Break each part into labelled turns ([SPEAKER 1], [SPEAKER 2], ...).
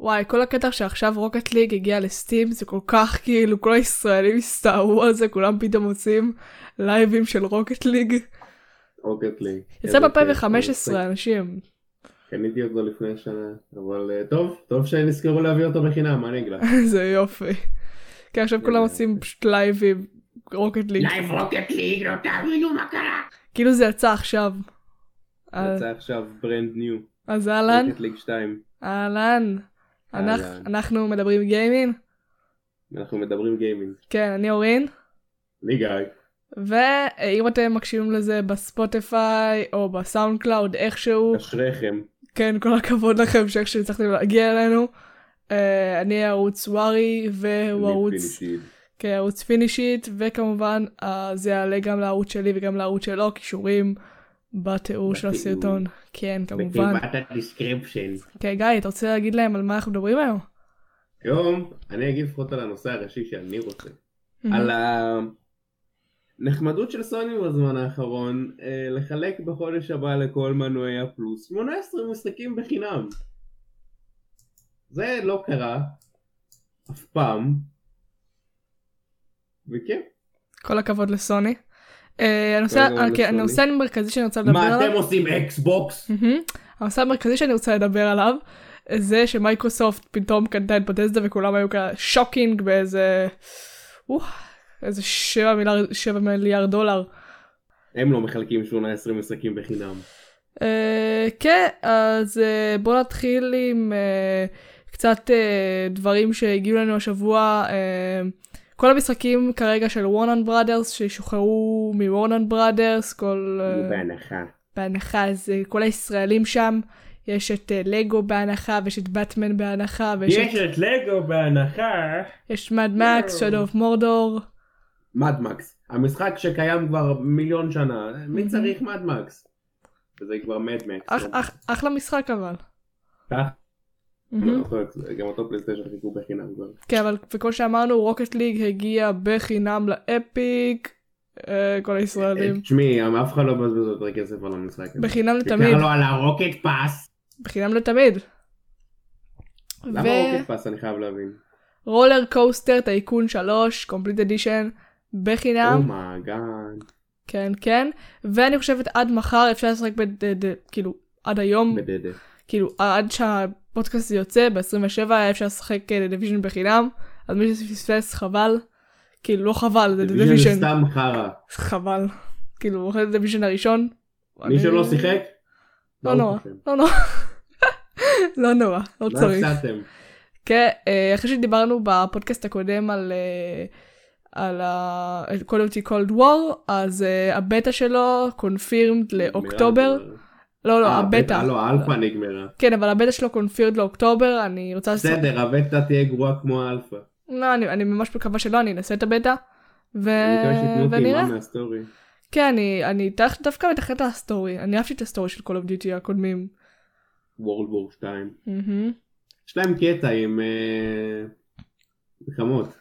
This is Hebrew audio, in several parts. [SPEAKER 1] וואי, כל הקטע שעכשיו רוקט ליג הגיע לסטים, זה כל כך כאילו, כל הישראלים הסתערו על זה, כולם פתאום עושים לייבים של רוקט ליג.
[SPEAKER 2] רוקט ליג.
[SPEAKER 1] יצא
[SPEAKER 2] איזה
[SPEAKER 1] ב-2015,
[SPEAKER 2] כיף.
[SPEAKER 1] אנשים.
[SPEAKER 2] אוקיי, קניתי אותו לפני שנה, אבל אה, טוב, טוב שהם נזכרו להביא אותו בחינם, מה אני אגיד לך?
[SPEAKER 1] זה יופי. כי עכשיו כולם עושים פשוט לייבים, רוקט ליג.
[SPEAKER 2] לייב רוקט ליג, לא תאמינו מה קרה.
[SPEAKER 1] כאילו זה יצא עכשיו. אז-
[SPEAKER 2] יצא עכשיו ברנד ניו.
[SPEAKER 1] אז אה. אהלן,
[SPEAKER 2] רוקט ליג 2.
[SPEAKER 1] אהלן. אנחנו-
[SPEAKER 2] אהלן.
[SPEAKER 1] אנחנו מדברים גיימינג.
[SPEAKER 2] אנחנו מדברים גיימינג.
[SPEAKER 1] כן, אני אורין.
[SPEAKER 2] אני גיא.
[SPEAKER 1] ואם אתם מקשיבים לזה בספוטיפיי או בסאונד קלאוד איכשהו,
[SPEAKER 2] אשריכם.
[SPEAKER 1] כן, כל הכבוד לכם שאיך שהצלחתם להגיע אלינו. אה, אני ערוץ ווארי והוא
[SPEAKER 2] אני
[SPEAKER 1] ערוץ,
[SPEAKER 2] פינישי.
[SPEAKER 1] כן, ערוץ פינישית, וכמובן אה, זה יעלה גם לערוץ שלי וגם לערוץ שלו, קישורים בתיאור של
[SPEAKER 2] בתיאור.
[SPEAKER 1] הסרטון. כן, כמובן.
[SPEAKER 2] בקיבת הדיסקריפשן.
[SPEAKER 1] כן, גיא, אתה רוצה להגיד להם על מה אנחנו מדברים היום?
[SPEAKER 2] היום אני אגיד לפחות על הנושא הראשי שאני רוצה. על הנחמדות של סוני בזמן האחרון, אה, לחלק בחודש הבא לכל מנועי הפלוס 18 משחקים בחינם. זה לא קרה אף פעם. וכן,
[SPEAKER 1] כל הכבוד לסוני. אה, הנושא-
[SPEAKER 2] כל הכבוד
[SPEAKER 1] אה, כן,
[SPEAKER 2] לסוני.
[SPEAKER 1] הנושא המרכזי שאני רוצה לדבר
[SPEAKER 2] מה
[SPEAKER 1] עליו,
[SPEAKER 2] אתם עושים אקסבוקס?
[SPEAKER 1] מהמם. הנושא המרכזי שאני רוצה לדבר עליו, זה שמייקרוסופט פתאום קנתה את בטסדה וכולם היו כאלה שוקינג באיזה, אוח, איזה 7 מיליארד, 7 מיליארד דולר.
[SPEAKER 2] הם לא מחלקים 18 משחקים בחינם.
[SPEAKER 1] אה, כן, אז אה, בואו נתחיל עם אה, קצת אה, דברים שהגיעו לנו השבוע. אה, כל המשחקים כרגע של וורנן בראדרס ששוחררו מוורנן בראדרס, כל... אה,
[SPEAKER 2] כאילו, בהנחה.
[SPEAKER 1] בהנחה אז אה, כל הישראלים שם, יש את אה, לגו בהנחה ויש את באטמן בהנחה ויש את,
[SPEAKER 2] יש את לגו בהנחה.
[SPEAKER 1] יש מד מקס, שדו אוף מורדור,
[SPEAKER 2] מדמקס, המשחק שקיים כבר מיליון שנה, מי
[SPEAKER 1] Mhm.
[SPEAKER 2] צריך מדמקס? וזה כבר מדמקס.
[SPEAKER 1] אחלה משחק אבל. מהמם.
[SPEAKER 2] לא, גם אותו פלייסטיישן חיכו בחינם כבר.
[SPEAKER 1] כן אבל וכמו שאמרנו רוקט ליג הגיע בחינם לאפיק, אה, כל הישראלים,
[SPEAKER 2] תשמעי, אף אחד לא מבזבז יותר כסף על המשחק הזה.
[SPEAKER 1] בחינם
[SPEAKER 2] בעיקר
[SPEAKER 1] לתמיד,
[SPEAKER 2] לא על הרוקט פאס.
[SPEAKER 1] בחינם לתמיד.
[SPEAKER 2] למה רוקט פאס אני חייב להבין?
[SPEAKER 1] ורולר קוסטר טייקון 3, קומפליט אדישן, בחינם.
[SPEAKER 2] אומאגאד.
[SPEAKER 1] כן כן ואני חושבת עד מחר אפשר לשחק בדד כאילו עד היום
[SPEAKER 2] בדדה.
[SPEAKER 1] כאילו עד שהפודקאסט יוצא ב-27 היה אפשר לשחק דוויז'ן בחינם אז מי שפספס חבל כאילו לא חבל זה
[SPEAKER 2] זה
[SPEAKER 1] דוויז'ן
[SPEAKER 2] סתם חרא.
[SPEAKER 1] חבל כאילו הוא אוכל את דוויז'ן הראשון.
[SPEAKER 2] מי
[SPEAKER 1] אני-
[SPEAKER 2] שלא שיחק?
[SPEAKER 1] לא
[SPEAKER 2] ברוך
[SPEAKER 1] נורא
[SPEAKER 2] השם.
[SPEAKER 1] לא נורא לא נורא לא
[SPEAKER 2] מה
[SPEAKER 1] צריך.
[SPEAKER 2] הפסדתם?
[SPEAKER 1] כן, אה, אחרי שדיברנו בפודקאסט הקודם על, אה, על ה- על Call of Duty Cold War, אז אה, הבטא שלו קונפירמד לאוקטובר.
[SPEAKER 2] נגמרה.
[SPEAKER 1] לא, לא,
[SPEAKER 2] אה,
[SPEAKER 1] הבטא.
[SPEAKER 2] לא, האלפא נגמרה.
[SPEAKER 1] כן, אבל הבטא שלו קונפירמד לאוקטובר, אני רוצה... לס-
[SPEAKER 2] בסדר, הבטא תהיה גרועה כמו האלפא.
[SPEAKER 1] לא, אני אני ממש מקווה שלא, אני אנסה את הבטא. ו...
[SPEAKER 2] אני מקווה אוקיי, שתתנו
[SPEAKER 1] אה, ונראה.
[SPEAKER 2] טעימה מהסטורי.
[SPEAKER 1] כן, אני, אני דווקא- דווקא מתחת לסטורי. אני אהבתי את הסטורי של Call of Duty הקודמים.
[SPEAKER 2] וורלד וור 2.
[SPEAKER 1] מהמם.
[SPEAKER 2] יש להם קטע עם אה, מלחמות,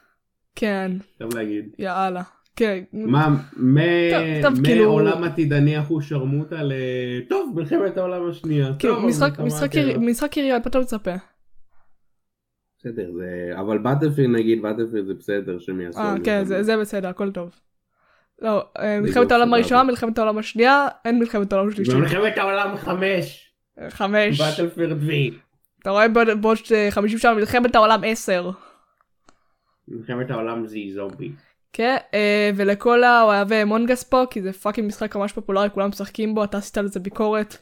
[SPEAKER 1] כן,
[SPEAKER 2] אפשר להגיד.
[SPEAKER 1] יאללה. כן.
[SPEAKER 2] מה, מ-
[SPEAKER 1] טוב, טוב, כאילו-
[SPEAKER 2] מעולם עתידני אחו שרמוטה ל... טוב, מלחמת העולם השנייה.
[SPEAKER 1] כאילו,
[SPEAKER 2] טוב,
[SPEAKER 1] משחק-
[SPEAKER 2] המלחמה
[SPEAKER 1] משחק
[SPEAKER 2] הקרה.
[SPEAKER 1] ירי- משחק יריות, מה אתה מצפה?
[SPEAKER 2] בסדר, זה... אבל באטלפילד נגיד, באטלפילד זה בסדר שהם יעשו.
[SPEAKER 1] אה,
[SPEAKER 2] את
[SPEAKER 1] כן,
[SPEAKER 2] זה.
[SPEAKER 1] זה, זה בסדר, הכל טוב. לא, אה,
[SPEAKER 2] בדיוק,
[SPEAKER 1] מלחמת העולם
[SPEAKER 2] סבבה.
[SPEAKER 1] הראשונה, מלחמת העולם השנייה, אין מלחמת העולם שלישית.
[SPEAKER 2] במלחמת העולם 5,
[SPEAKER 1] חמש.
[SPEAKER 2] באטלפילד V.
[SPEAKER 1] אתה רואה בעוד- בעוד אה, 50 שנה מלחמת העולם עשר.
[SPEAKER 2] מלחמת העולם Z זומבי.
[SPEAKER 1] כן, אה, ולכל האוהבי מונגס פה, כי זה פאקינג משחק ממש פופולרי, כולם משחקים בו, אתה עשית על זה ביקורת.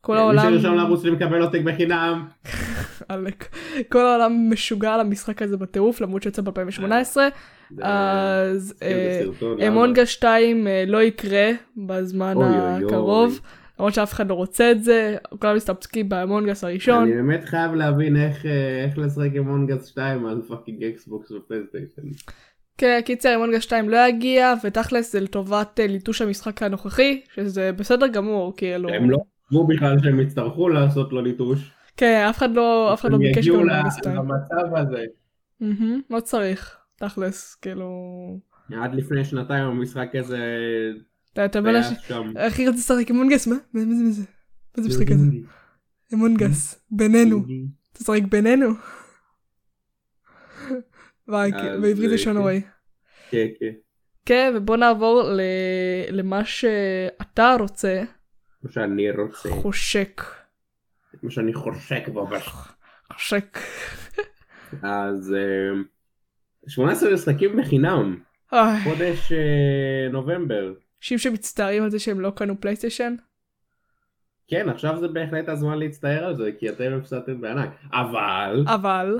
[SPEAKER 1] כל העולם...
[SPEAKER 2] כן, אה, מי שרשום לערוץ שלי מקבל עותק בחינם.
[SPEAKER 1] עלק. כל העולם משוגע על המשחק הזה בטירוף, למרות שיצא ב-2018,
[SPEAKER 2] זה-
[SPEAKER 1] אז... אה,
[SPEAKER 2] כן, זה סרטון, למה?
[SPEAKER 1] אמונגה 2 אה, לא יקרה בזמן
[SPEAKER 2] אוי, אוי,
[SPEAKER 1] הקרוב,
[SPEAKER 2] אוי.
[SPEAKER 1] למרות שאף אחד לא רוצה את זה, כולם מסתפקים באמונגס הראשון.
[SPEAKER 2] אני באמת חייב להבין איך, אה, איך לשחק עם מונגס 2 על פאקינג אקסבוקס ופלסטיישן.
[SPEAKER 1] כן, קיצר, אמונגה 2 לא יגיע, ותכלס זה לטובת אה, ליטוש המשחק הנוכחי, שזה בסדר גמור, כאילו.
[SPEAKER 2] הם לא חשבו בכלל שהם יצטרכו לעשות לו ליטוש.
[SPEAKER 1] כן, אף אחד לא, אף אחד לא
[SPEAKER 2] הם
[SPEAKER 1] ביקש את
[SPEAKER 2] יגיעו
[SPEAKER 1] אמונגה 2.
[SPEAKER 2] למצב הזה.
[SPEAKER 1] מהמם, לא צריך, תכלס, כאילו...
[SPEAKER 2] עד לפני שנתיים המשחק הזה
[SPEAKER 1] אתה אתה
[SPEAKER 2] היה
[SPEAKER 1] מבין,
[SPEAKER 2] שם.
[SPEAKER 1] הכי רציתי לשחק עם אמונגס, מה? מה מה זה מה זה? מה זה משחק כזה? אמונגס, בינינו. תשחק בינינו. וואי,
[SPEAKER 2] אז,
[SPEAKER 1] בעברית זה
[SPEAKER 2] אה,
[SPEAKER 1] שון
[SPEAKER 2] כן.
[SPEAKER 1] אווי.
[SPEAKER 2] כן, כן.
[SPEAKER 1] כן, ובוא נעבור ל- למה שאתה רוצה,
[SPEAKER 2] כמו שאני רוצה,
[SPEAKER 1] חושק.
[SPEAKER 2] כמו שאני חושק בו בש-
[SPEAKER 1] חושק.
[SPEAKER 2] אז אה, 18 משחקים בחינם,
[SPEAKER 1] איי,
[SPEAKER 2] חודש אה, נובמבר.
[SPEAKER 1] אנשים שמצטערים על זה שהם לא קנו פלייסטיישן.
[SPEAKER 2] כן, עכשיו זה בהחלט הזמן להצטער על זה, כי אתם הפסדתם בענק. אבל,
[SPEAKER 1] אבל,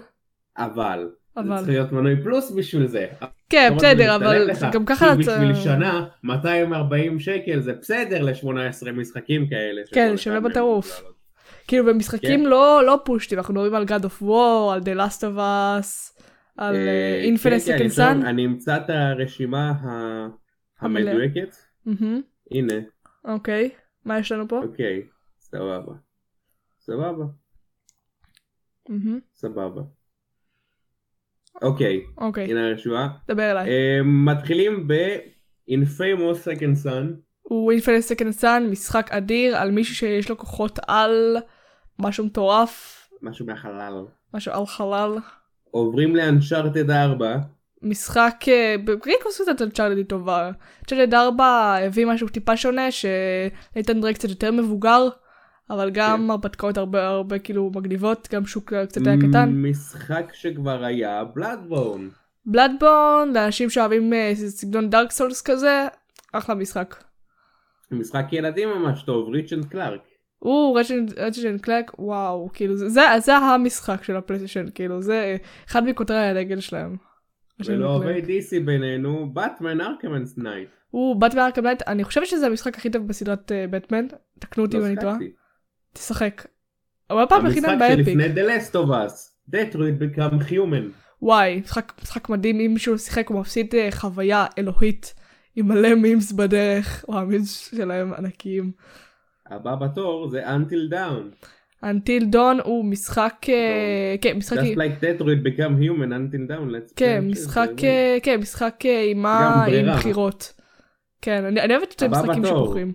[SPEAKER 2] אבל, זה
[SPEAKER 1] אבל.
[SPEAKER 2] צריך להיות מנוי פלוס בשביל זה.
[SPEAKER 1] כן,
[SPEAKER 2] לא רק
[SPEAKER 1] בסדר,
[SPEAKER 2] זה
[SPEAKER 1] אבל
[SPEAKER 2] משתלם לך,
[SPEAKER 1] גם ככה... לא
[SPEAKER 2] כי
[SPEAKER 1] אתה-
[SPEAKER 2] בשביל שנה, 240 שקל זה בסדר ל-18 משחקים כאלה.
[SPEAKER 1] כן,
[SPEAKER 2] שכל
[SPEAKER 1] שווה
[SPEAKER 2] אחד מהם
[SPEAKER 1] בטירוף.
[SPEAKER 2] יכול לעלות.
[SPEAKER 1] כאילו במשחקים
[SPEAKER 2] כן.
[SPEAKER 1] לא, לא פושטים, אנחנו מדברים על God of War, על The Last of Us, על
[SPEAKER 2] אה,
[SPEAKER 1] אינפיניט
[SPEAKER 2] כן, כן,
[SPEAKER 1] סקנד
[SPEAKER 2] אני
[SPEAKER 1] סאן.
[SPEAKER 2] אמצא- אני אמצא את הרשימה ה-
[SPEAKER 1] המלאה.
[SPEAKER 2] המדויקת. הנה,
[SPEAKER 1] אוקיי, מה יש לנו פה?
[SPEAKER 2] אוקיי, סבבה. סבבה,
[SPEAKER 1] מהמם,
[SPEAKER 2] סבבה. אוקיי,
[SPEAKER 1] אוקיי,
[SPEAKER 2] הנה הרשימה.
[SPEAKER 1] דבר אליי.
[SPEAKER 2] אה, מתחילים ב-Infamous Second Son.
[SPEAKER 1] הוא אינפיניט סקנד סאן, משחק אדיר על מישהו שיש לו כוחות על, משהו מטורף,
[SPEAKER 2] משהו מהחלל.
[SPEAKER 1] משהו על חלל.
[SPEAKER 2] עוברים לאנצ'ארטד 4.
[SPEAKER 1] משחק, אה, בריק עשו את אנצ'ארדד טובה. אנצ'ארדד 4 הביא משהו טיפה שונה, שניתן דרק קצת יותר מבוגר, אבל
[SPEAKER 2] כן.
[SPEAKER 1] גם הרפתקאות הרבה הרבה כאילו מגניבות, גם שוק אה, קצת היה
[SPEAKER 2] Mm,
[SPEAKER 1] קטן.
[SPEAKER 2] משחק שכבר היה בלאדבורן.
[SPEAKER 1] בלאדבורן, לאנשים שאוהבים אה, סגנון דארק סולס כזה, אחלה משחק.
[SPEAKER 2] משחק ילדים ממש טוב, ריצ'נד קלארק.
[SPEAKER 1] או, רצ'ן קלק, וואו, כאילו, זה, זה, זה המשחק של הפלייסטיישן, כאילו, זה אחד מכותרי הדגל שלהם.
[SPEAKER 2] ולאוהבי DC בינינו, באטמן ארקמן סנייט.
[SPEAKER 1] הוא, באטמן ארקם נייט, אני חושבת שזה המשחק הכי טוב בסדרת אה, בטמן, תקנו
[SPEAKER 2] לא
[SPEAKER 1] אותי אם אני טועה. תשחק. הוא היה פעם
[SPEAKER 2] המשחק
[SPEAKER 1] בחינם באפיק.
[SPEAKER 2] שלפני The Last of Us, Detroit Become Human.
[SPEAKER 1] וואי, משחק, משחק מדהים, אם מישהו שיחק הוא מפסיד אה, חוויה אלוהית עם מלא מימס בדרך, או המימס שלהם ענקיים.
[SPEAKER 2] הבא בתור זה Until Down.
[SPEAKER 1] Until Dawn הוא משחק, אה, כן, משחק,
[SPEAKER 2] Just like Detroit Become Human, Until Down. let's
[SPEAKER 1] כן,
[SPEAKER 2] play and
[SPEAKER 1] משחק,
[SPEAKER 2] choose.
[SPEAKER 1] אה, כן, משחק אה, עם ה- עם
[SPEAKER 2] ברירה.
[SPEAKER 1] בחירות. כן, אני אני אוהבת את
[SPEAKER 2] הבא
[SPEAKER 1] המשחקים
[SPEAKER 2] בתור.
[SPEAKER 1] שבוחרים. אה,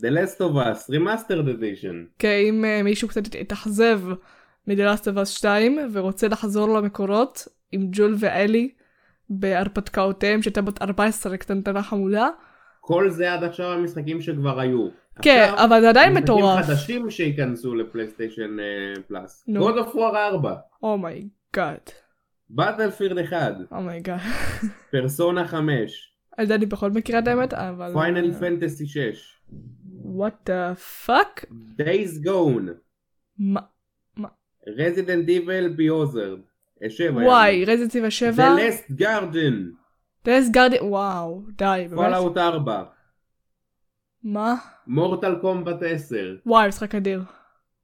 [SPEAKER 2] The Last of Us, Remastered Edition.
[SPEAKER 1] כן, אם אה, מישהו קצת התאכזב מדלאסט אבס 2 ורוצה לחזור למקורות עם ג'ול ואלי בהרפתקאותיהם שהייתה בת 14 קטנטנה חמודה.
[SPEAKER 2] כל זה עד עכשיו המשחקים שכבר היו.
[SPEAKER 1] כן,
[SPEAKER 2] עכשיו,
[SPEAKER 1] אבל זה עדיין
[SPEAKER 2] משחקים
[SPEAKER 1] מטורף.
[SPEAKER 2] חדשים שייכנסו לפלייסטיישן פלאס.
[SPEAKER 1] נו.
[SPEAKER 2] God of War 4,
[SPEAKER 1] Oh אומייגאד,
[SPEAKER 2] Battlefield 1,
[SPEAKER 1] אומייגאד.
[SPEAKER 2] פרסונה 5,
[SPEAKER 1] את זה אני פחות מכירה את האמת, אבל... אה,
[SPEAKER 2] פיינל פנטסי 6,
[SPEAKER 1] וואט דה פאק?
[SPEAKER 2] Days Gone,
[SPEAKER 1] מה?
[SPEAKER 2] Resident Evil Biozard, 7,
[SPEAKER 1] וואי, רזנסיבה
[SPEAKER 2] The
[SPEAKER 1] 7?
[SPEAKER 2] Last Garden,
[SPEAKER 1] דלס גארדי... וואו, די, באמת.
[SPEAKER 2] Fallout 4,
[SPEAKER 1] מה?
[SPEAKER 2] Mortal Kombat 10,
[SPEAKER 1] וואי, משחק אדיר.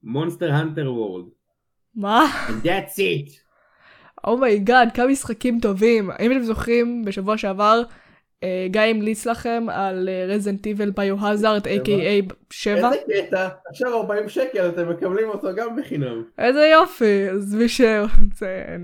[SPEAKER 2] Monster Hunter World,
[SPEAKER 1] מה?
[SPEAKER 2] and that's it.
[SPEAKER 1] אומייגאד, כמה משחקים טובים. אם אתם זוכרים, בשבוע שעבר, אה, גיא המליץ לכם על אה, רזנט איבל ביוהזארד, a.k.a 7.
[SPEAKER 2] איזה קטע, עכשיו 40 שקל אתם מקבלים אותו גם בחינם.
[SPEAKER 1] איזה יופי, אז מי שרוצה... אה,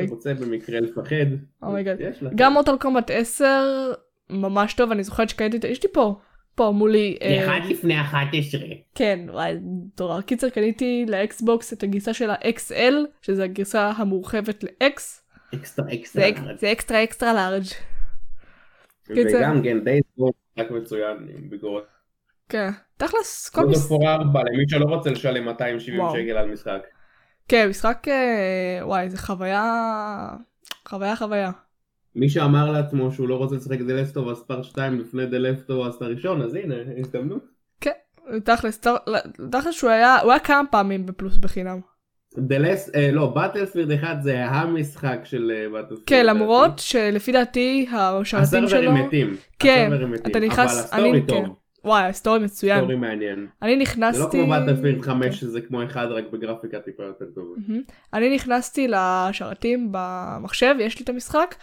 [SPEAKER 2] מי שרוצה במקרה לפחד,
[SPEAKER 1] אומייגאד.
[SPEAKER 2] יש לך.
[SPEAKER 1] Oh גם מורטל קומבט 10 ממש טוב, אני זוכרת שקניתי, יש לי פה, פה מולי. אה,
[SPEAKER 2] לפני 11.
[SPEAKER 1] כן, וואי, נורא. קיצר, קניתי לאקסבוקס את הגרסה של ה-XL, שזה הגרסה המורחבת ל-X,
[SPEAKER 2] אקסטרה
[SPEAKER 1] זה אק- זה אקסטרה אקסטרה לארג'. קיצר.
[SPEAKER 2] וגם כן די רק מצוין עם ביקורת.
[SPEAKER 1] כן, תכלס, כל
[SPEAKER 2] קוד
[SPEAKER 1] מש...
[SPEAKER 2] אופור 4 למי שלא רוצה לשלם 270
[SPEAKER 1] וואו.
[SPEAKER 2] שקל על משחק.
[SPEAKER 1] כן, משחק, אה, וואי, זה חוויה, חוויה חוויה.
[SPEAKER 2] מי שאמר לעצמו שהוא לא רוצה לשחק דה לפטוב אז פארט 2 לפני דה לפטוב אז הראשון אז הנה הזדמנות.
[SPEAKER 1] תכלס, ת- תכלס שהוא היה, הוא היה כמה פעמים בפלוס בחינם.
[SPEAKER 2] דה לס... לא, באטלפילד 1 זה המשחק של אה, באטלפילד.
[SPEAKER 1] כן, למרות שלפי דעתי, השרתים שלו...
[SPEAKER 2] אה, הסרברים מתים.
[SPEAKER 1] כן,
[SPEAKER 2] הסרברים מתים.
[SPEAKER 1] אתה נכנס-
[SPEAKER 2] אבל הסטורי
[SPEAKER 1] אני- כן.
[SPEAKER 2] טוב.
[SPEAKER 1] וואי, הסטורי מצוין.
[SPEAKER 2] סטורי מעניין.
[SPEAKER 1] אני
[SPEAKER 2] זה לא
[SPEAKER 1] נכנסתי...
[SPEAKER 2] כמו באטלפילד 5 שזה כמו אחד רק בגרפיקה טיפה יותר טובה.
[SPEAKER 1] מהמם. אני נכנסתי לשרתים במחשב, יש לי את המשחק,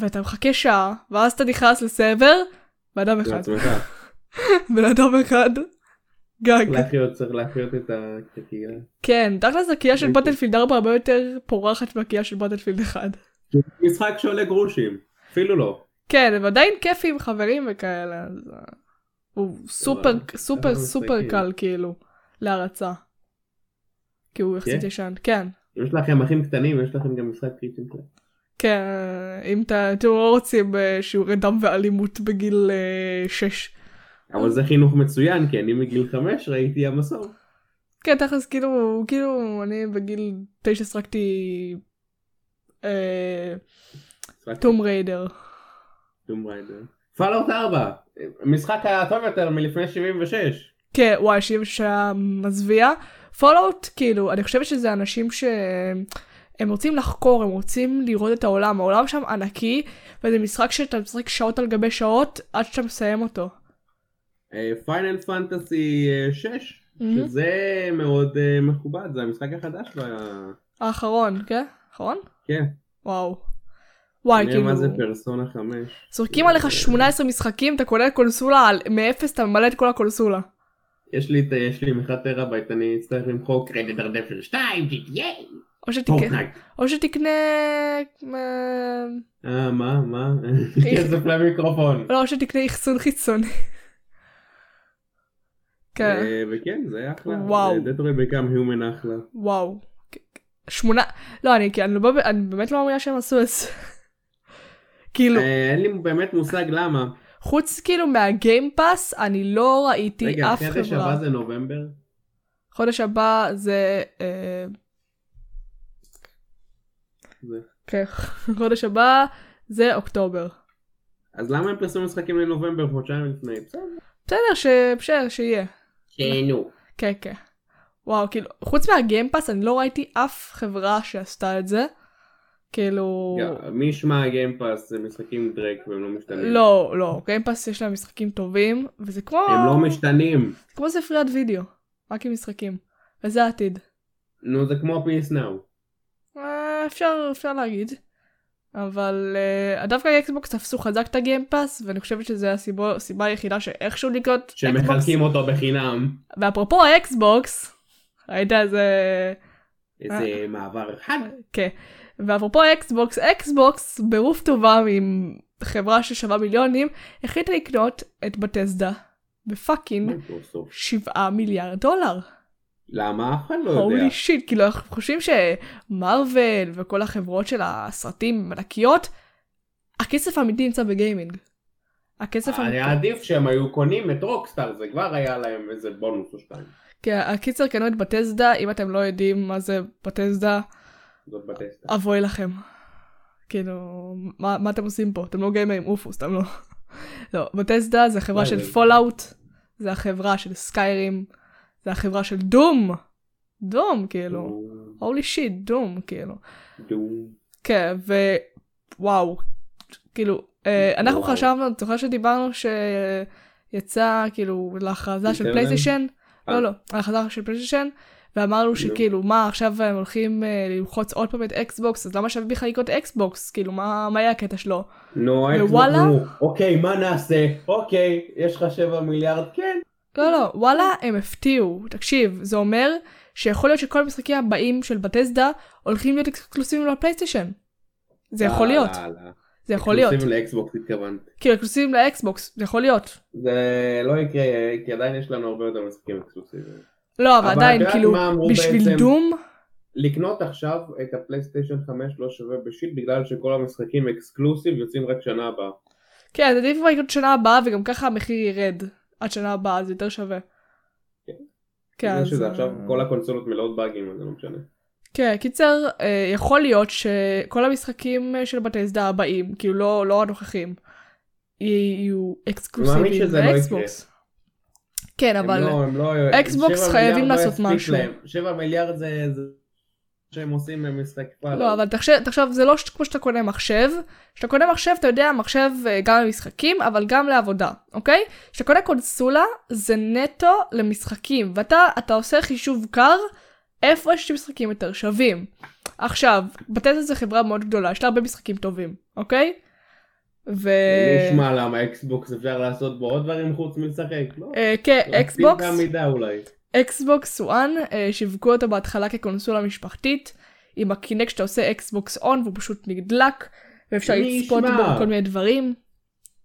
[SPEAKER 1] ואתה מחכה שעה, ואז אתה נכנס לסבר, בן אדם אחד.
[SPEAKER 2] לעצמך.
[SPEAKER 1] בן אדם אחד. גג.
[SPEAKER 2] להחיות, צריך להחיות את ה- את הקהילה.
[SPEAKER 1] כן, תכלס הקהילה של
[SPEAKER 2] בדיוק.
[SPEAKER 1] בטלפילד 4 הרבה יותר פורחת מהקהילה של בטלפילד 1.
[SPEAKER 2] משחק שעולה גרושים, אפילו לא.
[SPEAKER 1] כן, הם עדיין כיפים עם חברים וכאלה, אז... אה, הוא סופר,
[SPEAKER 2] אבל-
[SPEAKER 1] סופר,
[SPEAKER 2] אבל
[SPEAKER 1] סופר
[SPEAKER 2] משחקים.
[SPEAKER 1] קל כאילו, להרצה. כי הוא יחסית
[SPEAKER 2] כן?
[SPEAKER 1] ישן, כן.
[SPEAKER 2] אם יש לכם אחים קטנים, יש לכם גם משחק קריטים.
[SPEAKER 1] כן, אם אתה- אתם לא רוצים אה, שיעורי דם ואלימות בגיל אה, 6.
[SPEAKER 2] אבל זה חינוך מצוין, כי אני מגיל חמש ראיתי המסור.
[SPEAKER 1] כן, תכלס, כאילו, כאילו, אני בגיל 9 שחקתי אה, טום ריידר.
[SPEAKER 2] טום ריידר. פאלאוט 4, המשחק הטוב יותר מלפני 76.
[SPEAKER 1] כן, וואי, 76 היה מזוויע. פולאוט, כאילו, אני חושבת שזה אנשים ש... הם רוצים לחקור, הם רוצים לראות את העולם, העולם שם ענקי, וזה משחק שאתה משחק שעות על גבי שעות עד שאתה מסיים אותו.
[SPEAKER 2] אה, פיינל פנטסי 6,
[SPEAKER 1] מהמם.
[SPEAKER 2] אה, שזה מאוד אה, מכובד, זה המשחק החדש. ב-
[SPEAKER 1] האחרון, כן? האחרון?
[SPEAKER 2] כן,
[SPEAKER 1] וואו. וואי,
[SPEAKER 2] נראה
[SPEAKER 1] כאילו,
[SPEAKER 2] מה זה פרסונה 5.
[SPEAKER 1] זורקים עליך 18 משחקים, אתה קונה קונסולה, על- מאפס אתה ממלא את כל הקונסולה.
[SPEAKER 2] יש לי את- יש לי מיכת טראבייט, אני אצטרך למחוק רדדר דפל 2, GTA,
[SPEAKER 1] או שתקנה,
[SPEAKER 2] פורטנייט.
[SPEAKER 1] או שתקנה, אה,
[SPEAKER 2] אה, מה, מה? כסף למיקרופון.
[SPEAKER 1] לא, או שתקנה אחסון חיצוני. כן.
[SPEAKER 2] אה, וכן, זה אחלה. אה,
[SPEAKER 1] וואו.
[SPEAKER 2] דטרוי בקאם הומן אחלה.
[SPEAKER 1] וואו. שמונה... לא, אני, כי אני, לא, אני באמת לא מאמינה שהם עשו את זה. כאילו,
[SPEAKER 2] אה, אין לי באמת מושג למה.
[SPEAKER 1] חוץ כאילו מהגיימפאס, אני לא ראיתי
[SPEAKER 2] רגע,
[SPEAKER 1] אף
[SPEAKER 2] החדש
[SPEAKER 1] חברה.
[SPEAKER 2] הבא זה נובמבר?
[SPEAKER 1] חודש הבא זה... אה,
[SPEAKER 2] זה.
[SPEAKER 1] כן, חודש הבא זה אוקטובר.
[SPEAKER 2] אז למה הם פרסמו משחקים לנובמבר חודשיים לפני? בסדר.
[SPEAKER 1] בסדר, ש... בסדר, שיהיה.
[SPEAKER 2] שיהנו.
[SPEAKER 1] כן, כן. וואו, כאילו, חוץ מהגיימפאס, אני לא ראיתי אף חברה שעשתה את זה. כאילו...
[SPEAKER 2] יא, מי ישמע גיימפאס זה משחקים דרק והם לא משתנים.
[SPEAKER 1] לא, לא, גיימפאס יש להם משחקים טובים, וזה כמו...
[SPEAKER 2] הם לא משתנים.
[SPEAKER 1] זה כמו ספריית וידאו, רק עם משחקים. וזה העתיד.
[SPEAKER 2] נו זה כמו פיס נאו.
[SPEAKER 1] אה, אפשר, אפשר להגיד. אבל אה, דווקא אקסבוקס תפסו חזק את הגיימפאס, ואני חושבת שזו הסיבו- הסיבה היחידה שאיכשהו לקנות אקסבוקס.
[SPEAKER 2] שמחלקים אותו בחינם.
[SPEAKER 1] ואפרופו האקסבוקס, ראית איזה... אה.
[SPEAKER 2] איזה מעבר חד.
[SPEAKER 1] כן. ואפרופו אקסבוקס, אקסבוקס, ברוף טובה עם חברה ששווה מיליונים, החליטה לקנות את בטסדה בפאקינג
[SPEAKER 2] מייקרוסופט.
[SPEAKER 1] 7 מיליארד דולר.
[SPEAKER 2] למה אף אחד לא יודע?
[SPEAKER 1] הולי שיט, כאילו אנחנו חושבים שמרוויל וכל החברות של הסרטים הן ענקיות, הכסף האמיתי נמצא בגיימינג. הכסף האמיתי.
[SPEAKER 2] היה עדיף שהם היו קונים את רוקסטאר זה כבר היה להם איזה בונוס או שתיים.
[SPEAKER 1] כן, הקיצר קנו את בטסדה, אם אתם לא יודעים מה זה בטסדה,
[SPEAKER 2] זאת בטסטה.
[SPEAKER 1] אבוי לכם. כאילו, מה, מה אתם עושים פה? אתם לא גיימרים, עופו, סתם לא. לא, בטסדה זה חברה
[SPEAKER 2] וואי,
[SPEAKER 1] של
[SPEAKER 2] וואי.
[SPEAKER 1] פולאאוט, זה החברה של סקיירים, זה החברה של דום. דום, כאילו. הולי שיט, דום, כאילו.
[SPEAKER 2] דום.
[SPEAKER 1] כן, ווואו, כאילו, אה, אנחנו
[SPEAKER 2] וואו.
[SPEAKER 1] חשבנו, את זוכרת שדיברנו שיצא כאילו להכרזה של
[SPEAKER 2] אינטרנט?
[SPEAKER 1] פלייסטיישן?
[SPEAKER 2] אה.
[SPEAKER 1] לא, לא, ההכרזה של פלייסטיישן, ואמרנו שכאילו, מה, עכשיו הם הולכים אה, ללחוץ עוד פעם את אקסבוקס, אז למה שווה בכלל לקנות אקסבוקס? כאילו, מה מה היה הקטע שלו?
[SPEAKER 2] נו, איך
[SPEAKER 1] ווואלה?
[SPEAKER 2] נו, אוקיי, מה נעשה? אוקיי, יש לך שבע מיליארד? כן.
[SPEAKER 1] לא, לא, וואלה, הם הפתיעו. תקשיב, זה אומר שיכול להיות שכל המשחקים הבאים של בטסדה הולכים להיות אקסקלוסיביים לפלייסטיישן. זה
[SPEAKER 2] אה,
[SPEAKER 1] יכול להיות, זה יכול להיות.
[SPEAKER 2] אקסקלוסיב לאקסבוקס התכוונת.
[SPEAKER 1] כאילו, אקסקלוסיביים לאקסבוקס, זה יכול להיות.
[SPEAKER 2] זה לא יקרה, כי עדיין יש לנו הרבה יותר משחקים אקסקלוסיביים.
[SPEAKER 1] לא, אבל
[SPEAKER 2] אבל את
[SPEAKER 1] עדיין,
[SPEAKER 2] יודעת
[SPEAKER 1] כאילו,
[SPEAKER 2] מה אמרו
[SPEAKER 1] בשביל
[SPEAKER 2] בעצם?
[SPEAKER 1] דום,
[SPEAKER 2] לקנות עכשיו את הפלייסטיישן 5 לא שווה בשיט בגלל שכל המשחקים אקסקלוסיב יוצאים רק שנה הבאה.
[SPEAKER 1] כן, אז עדיף כבר לקנות שנה הבאה, וגם ככה המחיר ירד עד שנה הבאה, זה יותר שווה.
[SPEAKER 2] כן.
[SPEAKER 1] כן,
[SPEAKER 2] בגלל
[SPEAKER 1] אז...
[SPEAKER 2] שזה עכשיו כל הקונסולות מלאות באגים אז זה לא משנה.
[SPEAKER 1] כן, קיצר, אה, יכול להיות שכל המשחקים אה, של בטסדה הבאים, כאילו, לא, לא הנוכחים, יהיו
[SPEAKER 2] מאמין
[SPEAKER 1] אקסקלוסיביים
[SPEAKER 2] שזה לא
[SPEAKER 1] לאקסבוקס. כן,
[SPEAKER 2] הם
[SPEAKER 1] אבל...
[SPEAKER 2] לא- הם לא-
[SPEAKER 1] אקסבוקס
[SPEAKER 2] שבע
[SPEAKER 1] חייבים
[SPEAKER 2] מיליארד לא
[SPEAKER 1] לעשות
[SPEAKER 2] יספיק
[SPEAKER 1] משהו.
[SPEAKER 2] להם. שבע מיליארד זה זה שהם עושים במשחק פעם.
[SPEAKER 1] לא, אבל תחשב, תחשב, זה לא ש- כמו שאתה קונה מחשב. כשאתה קונה מחשב, אתה יודע, מחשב אה, גם למשחקים, אבל גם לעבודה, אוקיי? כשאתה קונה קונסולה, זה נטו למשחקים, ואתה אתה עושה חישוב קר, איפה יש משחקים יותר שווים. עכשיו, בטסלה זו חברה מאוד גדולה, יש לה הרבה משחקים טובים, אוקיי? ו...
[SPEAKER 2] לא נשמע למה אקסבוקס אפשר לעשות בו עוד דברים חוץ מלשחק. לא?
[SPEAKER 1] אה, כן,
[SPEAKER 2] להקטין
[SPEAKER 1] אקסבוקס.
[SPEAKER 2] בעמידה אולי.
[SPEAKER 1] אקסבוקס 1, שיווקו אותו בהתחלה כקונסולה משפחתית, עם הקינק שאתה עושה אקסבוקס און והוא פשוט נדלק, ואפשר
[SPEAKER 2] מי
[SPEAKER 1] לצפות
[SPEAKER 2] ישמע?
[SPEAKER 1] בו בכל מיני דברים.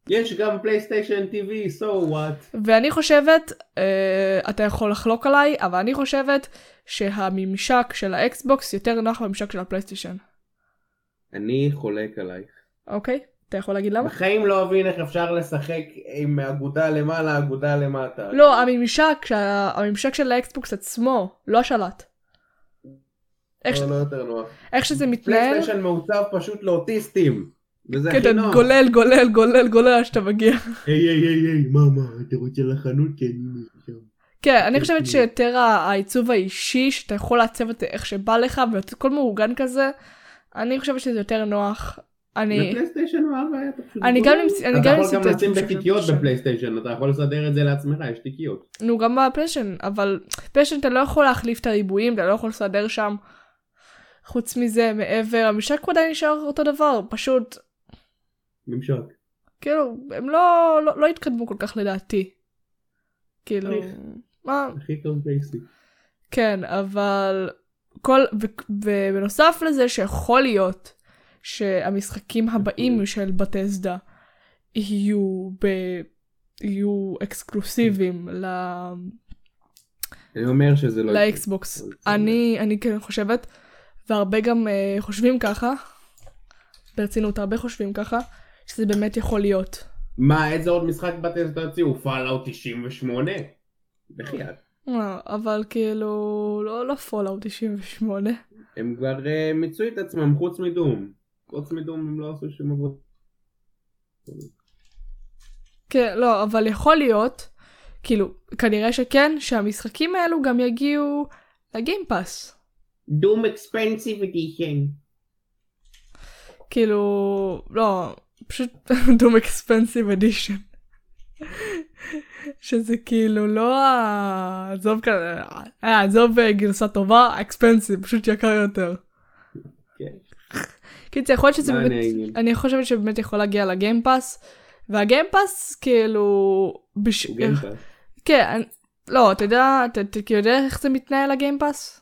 [SPEAKER 2] יש גם פלייסטיישן TV, so what?
[SPEAKER 1] ואני חושבת, אה, אתה יכול לחלוק עליי, אבל אני חושבת שהממשק של האקסבוקס יותר נוח מהממשק של הפלייסטיישן.
[SPEAKER 2] אני חולק עלייך.
[SPEAKER 1] אוקיי, אתה יכול להגיד למה?
[SPEAKER 2] בחיים לא אבין איך אפשר לשחק עם אגודה למעלה, אגודה למטה.
[SPEAKER 1] לא, הממשק, שה- הממשק של האקסבוקס עצמו, לא השלט. איך, ש-
[SPEAKER 2] לא, לא יותר נוח.
[SPEAKER 1] איך שזה מתנהל,
[SPEAKER 2] פלייסטיישן מעוצב פשוט לאוטיסטים. וזה
[SPEAKER 1] כן,
[SPEAKER 2] הכי
[SPEAKER 1] אתה
[SPEAKER 2] נוח.
[SPEAKER 1] גולל, גולל, גולל, גולל עד שאתה מגיע.
[SPEAKER 2] היי היי היי היי, מה מה, אתה רוצה לחנות? כן, הנה, שם.
[SPEAKER 1] כן, אני חושבת
[SPEAKER 2] כן.
[SPEAKER 1] שיותר ה- העיצוב האישי, שאתה יכול לעצב את זה איך שבא לך, והכל מאורגן כזה, אני חושבת שזה יותר נוח. אני...
[SPEAKER 2] בפלייסטיישן מה הבעיה? אתה פשוט
[SPEAKER 1] אני
[SPEAKER 2] גולל.
[SPEAKER 1] גם נמצ- אני
[SPEAKER 2] אתה
[SPEAKER 1] גם
[SPEAKER 2] יכול
[SPEAKER 1] נמצאת
[SPEAKER 2] גם לשים
[SPEAKER 1] בסיטואציה
[SPEAKER 2] בתיקיות
[SPEAKER 1] קשה.
[SPEAKER 2] בפלייסטיישן, אתה יכול לסדר את זה לעצמך, יש תיקיות.
[SPEAKER 1] נו, גם בפשן, אבל פשן אתה לא יכול להחליף את הריבועים, אתה לא יכול לסדר שם. חוץ מזה, מעבר, המשק הוא עדיין נשאר אותו דבר, פשוט,
[SPEAKER 2] ממשק.
[SPEAKER 1] כאילו, הם לא, לא, לא התקדמו כל כך לדעתי. כאילו,
[SPEAKER 2] צריך.
[SPEAKER 1] מה,
[SPEAKER 2] הכי טוב בייסי.
[SPEAKER 1] כן, אבל כל, ו- ובנוסף לזה שיכול להיות שהמשחקים הבאים
[SPEAKER 2] להיות.
[SPEAKER 1] של בטסדה יהיו ב... יהיו אקסקלוסיביים ל...
[SPEAKER 2] אני אומר שזה לא... יקרה.
[SPEAKER 1] לאקסבוקס. אני, אני כן חושבת, והרבה גם אה, חושבים ככה, ברצינות, הרבה חושבים ככה, שזה באמת יכול להיות.
[SPEAKER 2] מה, איזה עוד משחק בטסטה הוציאו? פאלאוט 98? בחייאת.
[SPEAKER 1] אה, אבל כאילו, לא, לא פולאאוט 98.
[SPEAKER 2] הם כבר אה, מיצו את עצמם חוץ מדום. חוץ מדום הם לא עשו שום עבודה.
[SPEAKER 1] כן, לא, אבל יכול להיות, כאילו, כנראה שכן, שהמשחקים האלו גם יגיעו לגיימפאס.
[SPEAKER 2] דום אקספנסיב אדישן.
[SPEAKER 1] כאילו, לא, פשוט דום אקספנסיב אדישן. שזה כאילו לא ה... עזוב כזה, אה, עזוב אה, גרסה טובה, אקספנסיב, פשוט יקר יותר.
[SPEAKER 2] כן.
[SPEAKER 1] קיצר, יכול להיות שזה
[SPEAKER 2] מה
[SPEAKER 1] באמת,
[SPEAKER 2] אני אגיד?
[SPEAKER 1] אני חושבת שבאמת יכול להגיע לגיימפאס, והגיימפאס כאילו, בש...
[SPEAKER 2] הוא גם טס.
[SPEAKER 1] כן, אני... לא, אתה יודע, אתה אתה כאילו יודע איך זה מתנהל הגיימפאס?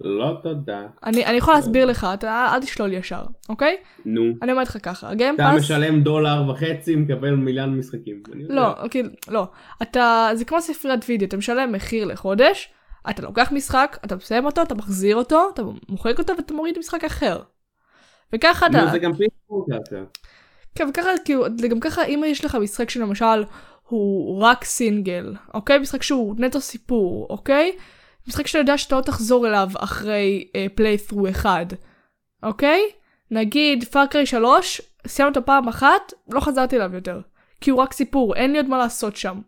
[SPEAKER 2] לא תודה.
[SPEAKER 1] אני, אני יכולה להסביר לך, אתה אל תשלול ישר, אוקיי?
[SPEAKER 2] נו.
[SPEAKER 1] אני אומרת לך ככה,
[SPEAKER 2] אתה
[SPEAKER 1] הגיימפאס...
[SPEAKER 2] משלם דולר וחצי, מקבל מיליון משחקים. אני יודע.
[SPEAKER 1] לא, כאילו, לא. אתה, זה כמו ספריית וידאו, אתה משלם מחיר לחודש, אתה לוקח משחק, אתה מסיים אותו, אתה מחזיר אותו, אתה מוחק אותו ואתה מוריד משחק אחר. וככה אתה,
[SPEAKER 2] נו, זה גם פיספורט ככה.
[SPEAKER 1] כן, וככה, כאילו, זה גם ככה, אם יש לך משחק שלמשל הוא רק סינגל, אוקיי? משחק שהוא נטו סיפור, אוקיי? משחק שאתה יודע שאתה לא תחזור אליו אחרי פלייתרו אחד, אוקיי? נגיד פארקריי 3, סיימנו אותו פעם אחת, לא חזרתי אליו יותר. כי הוא רק סיפור, אין לי עוד מה לעשות שם.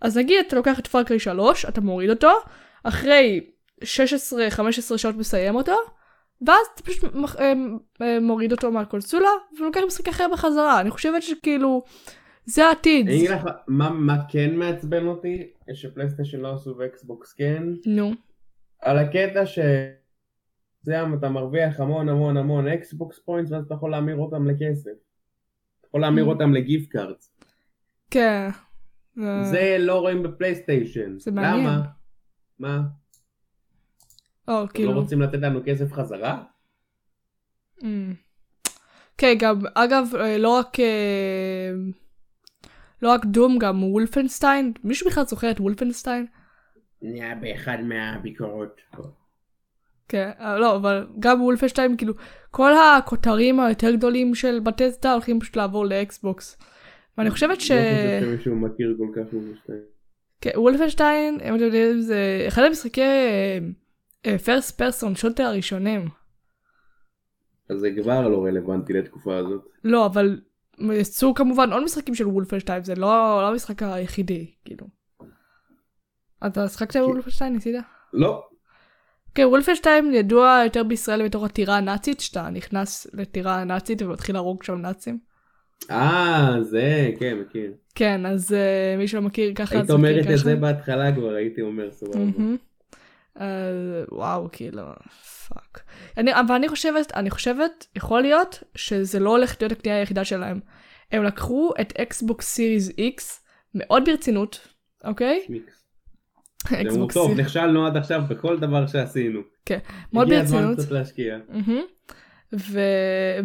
[SPEAKER 1] אז נגיד אתה לוקח את פארקריי 3, אתה מוריד אותו, אחרי 16-15 שעות מסיים אותו, ואז אתה פשוט מח- אה, אה, מוריד אותו מהקונסולה, ולוקח משחק אחר בחזרה. אני חושבת שכאילו, זה העתיד.
[SPEAKER 2] אני אגיד לך מה- מה כן מעצבן אותי, שפלייסטיישן לא עשו ואקסבוקס כן,
[SPEAKER 1] נו,
[SPEAKER 2] על הקטע ש... זהו, אתה מרוויח המון המון המון אקסבוקס פוינטס ואז אתה יכול להמיר אותם לכסף. אתה יכול להמיר
[SPEAKER 1] Mm.
[SPEAKER 2] אותם לגיפט קארדס.
[SPEAKER 1] כן.
[SPEAKER 2] זה לא רואים בפלייסטיישן.
[SPEAKER 1] זה מעניין.
[SPEAKER 2] למה? מה?
[SPEAKER 1] או,
[SPEAKER 2] כאילו...
[SPEAKER 1] כאילו.
[SPEAKER 2] לא רוצים לתת לנו כסף חזרה?
[SPEAKER 1] אמ. כן, גם, אגב, אה, לא רק... אה, לא רק דום, גם וולפנשטיין. מישהו בכלל זוכר את וולפנשטיין?
[SPEAKER 2] נהיה באחד מהביקורות.
[SPEAKER 1] כן, אה, לא, אבל גם וולפנשטיין, כאילו, כל הכותרים היותר גדולים של בטסטה הולכים פשוט לעבור לאקסבוקס. ואני חושבת ש...
[SPEAKER 2] לא חושב שמישהו מכיר כל כך מושתיים.
[SPEAKER 1] כן, וולפנשטיין, אם אתם יודעים, זה אחד המשחקי אה, פרסט פרסון, שוטר הראשונים.
[SPEAKER 2] אז זה כבר לא רלוונטי לתקופה הזאת.
[SPEAKER 1] לא, אבל יצאו כמובן עוד משחקים של וולפנשטיין, זה לא, לא המשחק היחידי, כאילו. אתה
[SPEAKER 2] אוקיי.
[SPEAKER 1] שחקת וולפנשטיין, ניסית?
[SPEAKER 2] לא.
[SPEAKER 1] כן, וולפנשטיין ידוע יותר בישראל בתור הטירה הנאצית, שאתה נכנס לטירה הנאצית ומתחיל להרוג שם נאצים.
[SPEAKER 2] אה, זה, כן, מכיר.
[SPEAKER 1] כן, אז uh, מי שלא מכיר ככה, אז
[SPEAKER 2] היית
[SPEAKER 1] מכיר
[SPEAKER 2] אומרת את
[SPEAKER 1] ככה.
[SPEAKER 2] זה בהתחלה כבר, הייתי אומר סבבה.
[SPEAKER 1] מהמם. אז וואו, כאילו, פאק. אני, אבל אני חושבת, אני חושבת, יכול להיות, שזה לא הולך להיות הקנייה היחידה שלהם. הם לקחו את אקסבוקס סיריס איקס מאוד ברצינות, אוקיי?
[SPEAKER 2] מיקס. זה אמרו,
[SPEAKER 1] אקסבוקס
[SPEAKER 2] טוב,
[SPEAKER 1] סיריס,
[SPEAKER 2] נכשלנו עד עכשיו בכל דבר שעשינו.
[SPEAKER 1] מאוד
[SPEAKER 2] הגיע הזמן
[SPEAKER 1] ברצינות.
[SPEAKER 2] קצת להשקיע.
[SPEAKER 1] מהמם. ו...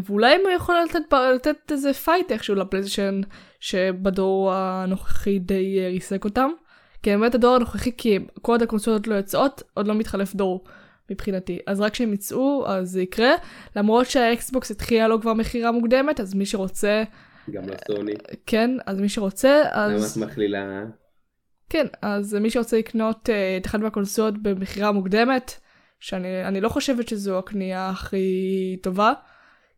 [SPEAKER 1] ואולי הם יכולים לתת, לתת איזה פייט איכשהו לפלייסטיישן שבדור הנוכחי די אה, ריסק אותם. כי באמת הדור הנוכחי, כי כל עוד הקונסולות לא יוצאות, עוד לא מתחלף דור. מבחינתי. אז רק כשהם יצאו, אז זה יקרה. למרות שהאקסבוקס התחילה לו כבר מכירה מוקדמת, אז מי שרוצה,
[SPEAKER 2] גם לסוני.
[SPEAKER 1] כן, אז מי שרוצה,
[SPEAKER 2] למה
[SPEAKER 1] אה, אז...
[SPEAKER 2] את מכלילה?
[SPEAKER 1] כן, אז מי שרוצה לקנות אה, את אחת מהקונסולות במכירה מוקדמת, שאני אני לא חושבת שזו הקנייה הכי טובה,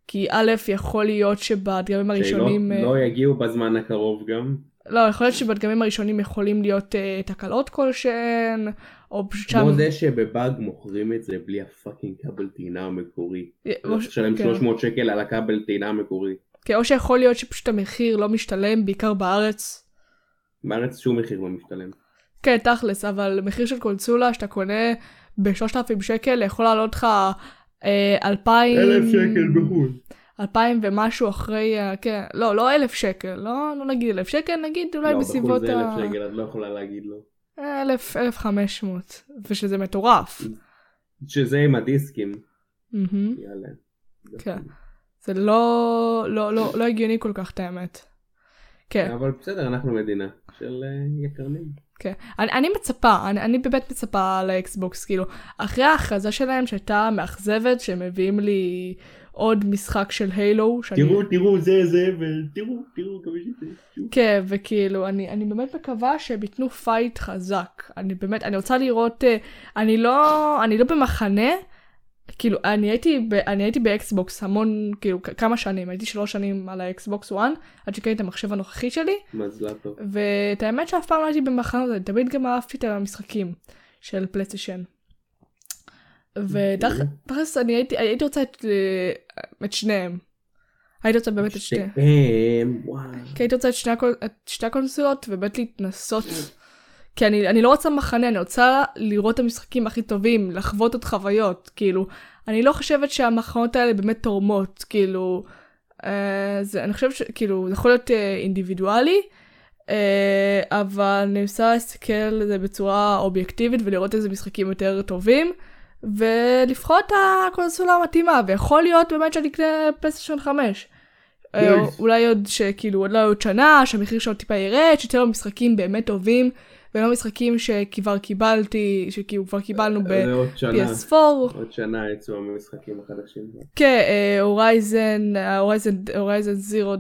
[SPEAKER 1] כי א', יכול להיות שבדגמים הראשונים...
[SPEAKER 2] שלא
[SPEAKER 1] אה,
[SPEAKER 2] לא יגיעו בזמן הקרוב גם.
[SPEAKER 1] לא, יכול להיות שבדגמים הראשונים יכולים להיות אה, תקלות כלשהן, או פשוט שם...
[SPEAKER 2] כמו זה שבבאג מוכרים את זה בלי הפאקינג כבל טעינה המקורי.
[SPEAKER 1] או,
[SPEAKER 2] צריך לשלם
[SPEAKER 1] כן.
[SPEAKER 2] 300 שקל על הכבל טעינה המקורי.
[SPEAKER 1] כן, או שיכול להיות שפשוט המחיר לא משתלם, בעיקר בארץ.
[SPEAKER 2] בארץ שום מחיר לא משתלם.
[SPEAKER 1] כן, תכלס, אבל מחיר של קונסולה שאתה קונה ב-3,000 שקל, יכול לעלות לך אה, 2,000...
[SPEAKER 2] בחו"ל.
[SPEAKER 1] אלפיים ומשהו אחרי, ה- כן, לא, לא אלף שקל, לא, לא נגיד אלף שקל, נגיד אולי
[SPEAKER 2] לא, בחו"ל
[SPEAKER 1] בסביבות
[SPEAKER 2] זה
[SPEAKER 1] ה...
[SPEAKER 2] 1,000 שקל, את לא יכולה להגיד לו.
[SPEAKER 1] אלף, אלף חמש מאות, ושזה מטורף.
[SPEAKER 2] שזה עם הדיסקים.
[SPEAKER 1] מהמם.
[SPEAKER 2] יאללה.
[SPEAKER 1] כן. זה לא, לא, לא, לא הגיוני כל כך, את האמת. כן,
[SPEAKER 2] אבל בסדר, אנחנו מדינה של אה, יקרנים.
[SPEAKER 1] כן. אני, אני מצפה, אני, אני באמת מצפה לאקסבוקס, כאילו, אחרי ההכרזה שלהם שהייתה מאכזבת, שהם מביאים לי עוד משחק של הילו, שאני...
[SPEAKER 2] תראו, תראו, זה, זה, ותראו, תראו, כמה שזה. שוב.
[SPEAKER 1] כן, וכאילו, אני, אני באמת מקווה שהם ייתנו פייט חזק. אני באמת, אני רוצה לראות, אה, אני לא, אני לא במחנה, כאילו, אני הייתי, ב, אני הייתי באקסבוקס המון, כאילו, כ- כמה שנים, הייתי שלוש שנים על האקסבוקס 1, עד שקניתי את המחשב הנוכחי שלי,
[SPEAKER 2] מזל טוב.
[SPEAKER 1] ואת האמת שאף פעם לא הייתי במחנה הזה, תמיד גם אהבתי את המשחקים של פלייסטיישן. ותכלס, אני הייתי, הייתי רוצה את, אה, את שניהם. הייתי רוצה
[SPEAKER 2] אוקיי.
[SPEAKER 1] באמת את שניהם.
[SPEAKER 2] שתיהם, וואי.
[SPEAKER 1] כי הייתי רוצה את שני, הקול, את שתי הקונסולות ובאמת להתנסות. כי אני, אני לא רוצה מחנה, אני רוצה לראות את המשחקים הכי טובים, לחוות עוד חוויות, כאילו. אני לא חושבת שהמחנות האלה באמת תורמות, כאילו. אה, זה, אני חושבת שכאילו, זה יכול להיות אה, אינדיבידואלי, אה, אבל אני מנסה להסתכל על זה בצורה אובייקטיבית ולראות איזה משחקים יותר טובים. ולבחור את הקונסולה המתאימה, ויכול להיות באמת שאני אקנה פלייסטיישן 5. אה,
[SPEAKER 2] Nice.
[SPEAKER 1] אולי עוד שכאילו, אולי עוד שנה, שהמחיר שלו טיפה ירד, שתהיה לו משחקים באמת טובים, ולא משחקים שכבר קיבלתי, שכאילו כבר קיבלנו
[SPEAKER 2] זה אה, עוד שנה.
[SPEAKER 1] ב-PS4.
[SPEAKER 2] עוד שנה יצאו המשחקים החדשים.
[SPEAKER 1] כן, אה, הורייזן, הורייזן, הורייזן זירו,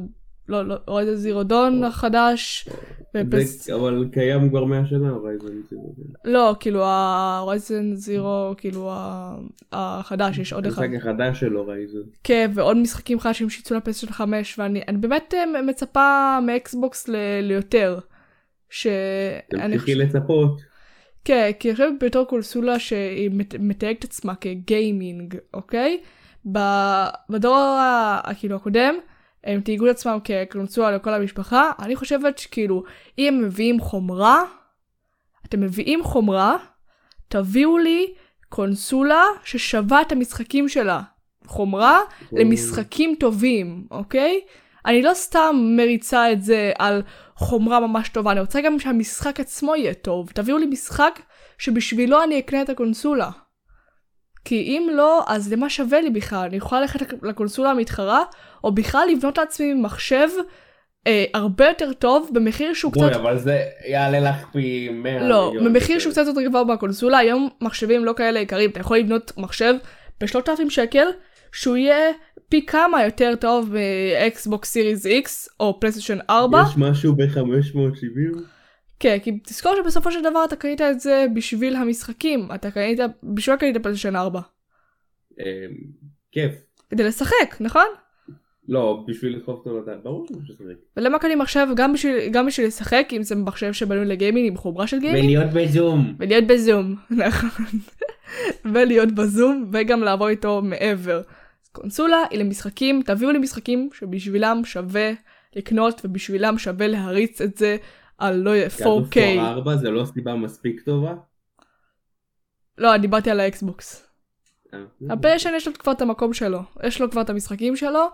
[SPEAKER 1] לא, לא, הורייזן זירו דון החדש. ופס-
[SPEAKER 2] זה אבל קיים כבר 100 שנה, הורייזן.
[SPEAKER 1] לא, כאילו ההורייזן זירו, כאילו ה- החדש, יש עוד אחד.
[SPEAKER 2] המשחק החדש של הורייזן.
[SPEAKER 1] כן, ועוד משחקים חדשים שיצאו לפסל 5, ואני אני באמת אה, מצפה מאקסבוקס ל- ליותר. שאני
[SPEAKER 2] תמשיכי
[SPEAKER 1] חושבת,
[SPEAKER 2] לצפות.
[SPEAKER 1] כן, כי אני חושבת בתור קונסולה שהיא מת- מתייגת עצמה כגיימינג, אוקיי? ב- בדור ה- ה- כאילו הקודם, הם תייגו את עצמם כקונסולה לכל המשפחה, אני חושבת שכאילו, אם הם מביאים חומרה, אתם מביאים חומרה, תביאו לי קונסולה ששווה את המשחקים שלה. חומרה, למשחקים טובים, אוקיי? אני לא סתם מריצה את זה על חומרה ממש טובה, אני רוצה גם שהמשחק עצמו יהיה טוב. תביאו לי משחק שבשבילו אני אקנה את הקונסולה. כי אם לא, אז למה שווה לי בכלל? אני יכולה ללכת לק- לקונסולה המתחרה, או בכלל לבנות לעצמי מחשב אה, הרבה יותר טוב במחיר שהוא קצת...
[SPEAKER 2] בואי, אבל זה יעלה לך פי 100
[SPEAKER 1] לא,
[SPEAKER 2] מיליון.
[SPEAKER 1] במחיר שהוא קצת יותר גבוה בקונסולה, היום מחשבים לא כאלה יקרים, אתה יכול לבנות מחשב ב-3,000 שקל, שהוא יהיה פי כמה יותר טוב מאקסבוקס סיריס X או פלייסטיישן 4.
[SPEAKER 2] יש משהו ב-570?
[SPEAKER 1] כן, כי תזכור שבסופו של דבר אתה קנית את זה בשביל המשחקים, אתה קנית, בשביל מה קנית פלייסטיישן 4.
[SPEAKER 2] אה, כיף.
[SPEAKER 1] כדי לשחק, נכון?
[SPEAKER 2] לא, בשביל לדחוף אותו לדעת. ברור שזה
[SPEAKER 1] ולמה קנים עכשיו גם בשביל, גם בשביל לשחק, אם זה מחשב שבנוי לגיימינג עם חומרה של גיימינג?
[SPEAKER 2] ולהיות בזום.
[SPEAKER 1] ולהיות בזום, נכון. ולהיות בזום, וגם לעבור איתו מעבר. אז קונסולה היא למשחקים, תביאו לי משחקים שבשבילם שווה לקנות ובשבילם שווה להריץ את זה על לא יודע,
[SPEAKER 2] כן,
[SPEAKER 1] 4K.
[SPEAKER 2] 4 זה לא סיבה מספיק טובה.
[SPEAKER 1] לא, אני דיברתי על האקסבוקס.
[SPEAKER 2] אה,
[SPEAKER 1] הפליישן יש לו כבר את המקום שלו, יש לו כבר את המשחקים שלו,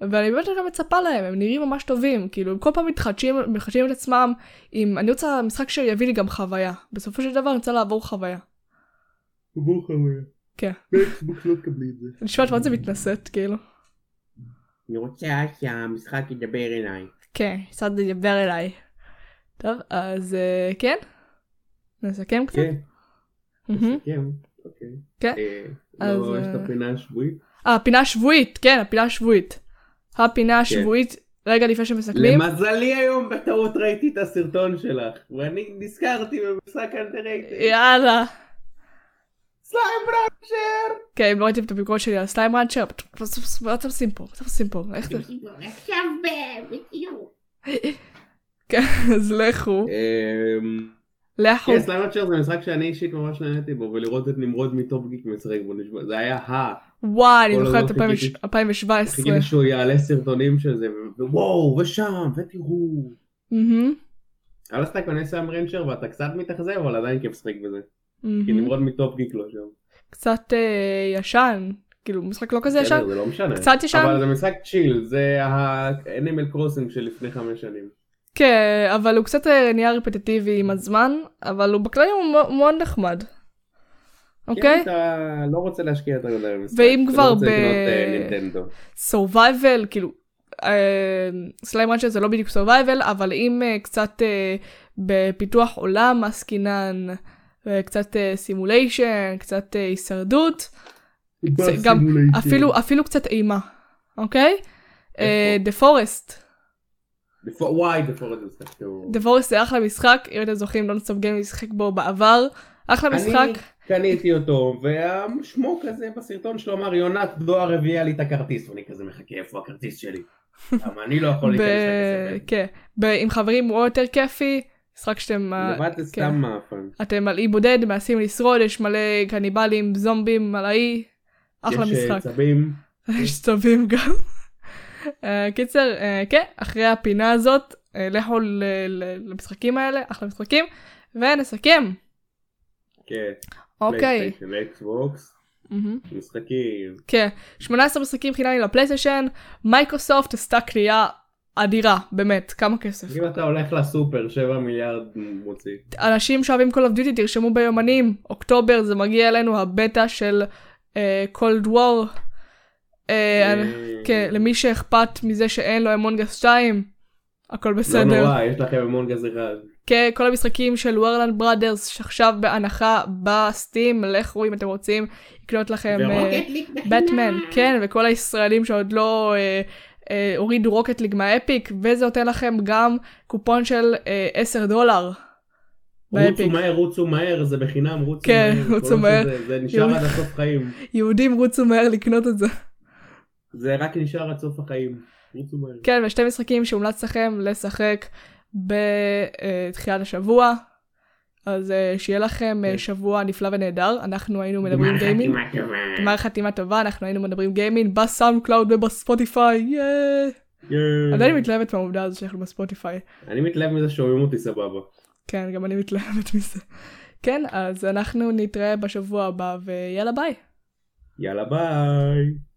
[SPEAKER 1] ואני באמת גם מצפה להם, הם נראים ממש טובים, כאילו הם כל פעם מתחדשים, מתחדשים את עצמם, עם, אני רוצה משחק שיביא לי גם חוויה. בסופו של דבר אני רוצה לעבור חוויה.
[SPEAKER 2] בואו חברים.
[SPEAKER 1] כן.
[SPEAKER 2] באקסבוקס לא תקבלי את זה.
[SPEAKER 1] נשמעת מאוד זה מתנשאת, כאילו.
[SPEAKER 2] אני רוצה שהמשחק ידבר אליי.
[SPEAKER 1] כן, קצת לדבר אליי. טוב, אז אה, כן? נסכם קצת?
[SPEAKER 2] כן,
[SPEAKER 1] מהמם.
[SPEAKER 2] כן. אוקיי.
[SPEAKER 1] כן,
[SPEAKER 2] אה,
[SPEAKER 1] אז,
[SPEAKER 2] לא, יש את
[SPEAKER 1] אה,
[SPEAKER 2] הפינה השבועית.
[SPEAKER 1] אה, הפינה השבועית, כן, הפינה השבועית. הפינה
[SPEAKER 2] כן.
[SPEAKER 1] השבועית, רגע לפני שמסכמים.
[SPEAKER 2] למזלי היום בטעות ראיתי את הסרטון שלך, ואני נזכרתי במשחק
[SPEAKER 1] אה,
[SPEAKER 2] אנדררייטד.
[SPEAKER 1] יאללה.
[SPEAKER 2] סליים ראנצ'ר!
[SPEAKER 1] כן, אם לא ראיתם את הביקורת שלי על סליים ראנצ'ר, מה אתם עושים פה? מה אתם עושים פה? איך זה?
[SPEAKER 2] עכשיו בדיוק.
[SPEAKER 1] כן, אז לכו. לכו. נכון.
[SPEAKER 2] כן, סליים ראנצ'ר זה משחק שאני אישית ממש נהניתי בו, ולראות את נמרוד מטופ גיק משחק בו, נשמע- זה היה ה...
[SPEAKER 1] וואי, אני
[SPEAKER 2] כל הזמן
[SPEAKER 1] זוכרת
[SPEAKER 2] חיכיתי-
[SPEAKER 1] 2017.
[SPEAKER 2] חיכיתי שהוא יעלה סרטונים של זה, ו- ווואו, ושם, ותראו.
[SPEAKER 1] מהמם,
[SPEAKER 2] אבל אז אתה קונה סליים ראנצ'ר ואתה קצת מתאכזב, אבל עדיין כיף לשחק בזה.
[SPEAKER 1] Mm-hmm.
[SPEAKER 2] כי
[SPEAKER 1] מהמם.
[SPEAKER 2] נמרוד מטופ גיק לא שם.
[SPEAKER 1] קצת אה, ישן. כאילו, משחק לא כזה ישן.
[SPEAKER 2] בסדר, זה לא משנה.
[SPEAKER 1] קצת ישן.
[SPEAKER 2] אבל זה משחק צ'יל, זה ה-Animal Crossing של לפני חמש שנים.
[SPEAKER 1] כן, אבל הוא קצת אה, נהיה רפטטיבי עם הזמן, אבל הוא בכללי הוא מ- מאוד נחמד.
[SPEAKER 2] כן,
[SPEAKER 1] אוקיי?
[SPEAKER 2] אתה לא רוצה להשקיע יותר מדי במשחק.
[SPEAKER 1] ואם
[SPEAKER 2] אתה
[SPEAKER 1] כבר
[SPEAKER 2] לא רוצה
[SPEAKER 1] ב-
[SPEAKER 2] לקנות אה, נינטנדו.
[SPEAKER 1] סורווייבל, כאילו, סליים ראנצ'ר זה לא בדיוק סורווייבל, אבל אם אה, קצת אה, בפיתוח עולם עסקינן, אה, קצת סימוליישן, קצת אה, הישרדות, זה גם- אפילו, אפילו קצת אימה, אוקיי? אה, The Forest.
[SPEAKER 2] The Fo- וואי, The Forest זה משחק טוב.
[SPEAKER 1] The Forest זה אחלה משחק, אם אתם זוכרים, לא נסתם גיימי לשחק בו בעבר. אחלה
[SPEAKER 2] אני-
[SPEAKER 1] משחק.
[SPEAKER 2] קניתי אותו, והשמו כזה בסרטון שלו אמר יונת דואר הביאה לי את הכרטיס, ואני כזה מחכה איפה הכרטיס שלי. אבל אני לא יכול
[SPEAKER 1] ב...
[SPEAKER 2] להיכנס לכסף.
[SPEAKER 1] כן. ב... עם חברים הוא עוד יותר כיפי, משחק שאתם... אה,
[SPEAKER 2] לבד זה
[SPEAKER 1] כן.
[SPEAKER 2] סתם מאפן.
[SPEAKER 1] אתם על אי בודד, מנסים לשרוד, יש מלא קניבלים, זומבים על האי. אחלה
[SPEAKER 2] יש אה,
[SPEAKER 1] משחק.
[SPEAKER 2] צבים.
[SPEAKER 1] יש צבים גם. אה, קיצר, אה, כן, אחרי הפינה הזאת, אה, לכו ל- ל- למשחקים האלה, אחלה משחקים, ונסכם.
[SPEAKER 2] כן.
[SPEAKER 1] אוקיי.
[SPEAKER 2] פלייסטיישן, אקסבוקס.
[SPEAKER 1] מהמם.
[SPEAKER 2] משחקים.
[SPEAKER 1] כן, 18 משחקים חינמי לפלייסטיישן, מייקרוסופט עשתה קנייה אדירה, באמת, כמה כסף.
[SPEAKER 2] אם אתה הולך לסופר, 7 מיליארד מוציא.
[SPEAKER 1] אנשים שאוהבים Call of Duty, תרשמו ביומנים, אוקטובר זה מגיע אלינו הבטא של אה, Cold War. אה, אני-
[SPEAKER 2] אה,
[SPEAKER 1] כן, למי שאכפת מזה שאין לו אמונגס 2, הכל
[SPEAKER 2] לא
[SPEAKER 1] בסדר.
[SPEAKER 2] נורא, יש לכם אמונגז אחד.
[SPEAKER 1] כן, כל המשחקים של וורלנד בראדרס שעכשיו בהנחה בסטים, לכו אם אתם רוצים לקנות לכם אה,
[SPEAKER 2] ליג
[SPEAKER 1] בטמן, כן, וכל הישראלים שעוד לא אה, אה, הורידו רוקט ליג מהאפיק, וזה נותן לכם גם קופון של אה, 10 דולר.
[SPEAKER 2] רוצו
[SPEAKER 1] באפיק.
[SPEAKER 2] מהר, רוצו מהר, זה בחינם, רוצו
[SPEAKER 1] כן,
[SPEAKER 2] מהר.
[SPEAKER 1] רוצו
[SPEAKER 2] כל מה
[SPEAKER 1] מהר.
[SPEAKER 2] שזה, זה נשאר
[SPEAKER 1] יואו.
[SPEAKER 2] עד הסוף חיים.
[SPEAKER 1] יהודים רוצו מהר לקנות את זה.
[SPEAKER 2] זה רק נשאר עד סוף החיים. רוצו מהר.
[SPEAKER 1] כן, ושתי משחקים שהומלץ לכם לשחק בתחילת השבוע. אז אה, שיהיה לכם אה,
[SPEAKER 2] כן.
[SPEAKER 1] שבוע נפלא ונהדר, אנחנו היינו מדברים גיימינג. גמר חתימה טובה, אנחנו היינו מדברים גיימינג בסאונד קלאוד ובספוטיפיי, יאיי.
[SPEAKER 2] יאיי.
[SPEAKER 1] עדיין מתלהבת מהעובדה הזו שאנחנו בספוטיפיי.
[SPEAKER 2] אני מתלהב מזה שומעים אותי סבבה.
[SPEAKER 1] כן, גם אני מתלהבת מזה. כן, אז אנחנו נתראה בשבוע הבא, ויאללה ביי.
[SPEAKER 2] יאללה ביי.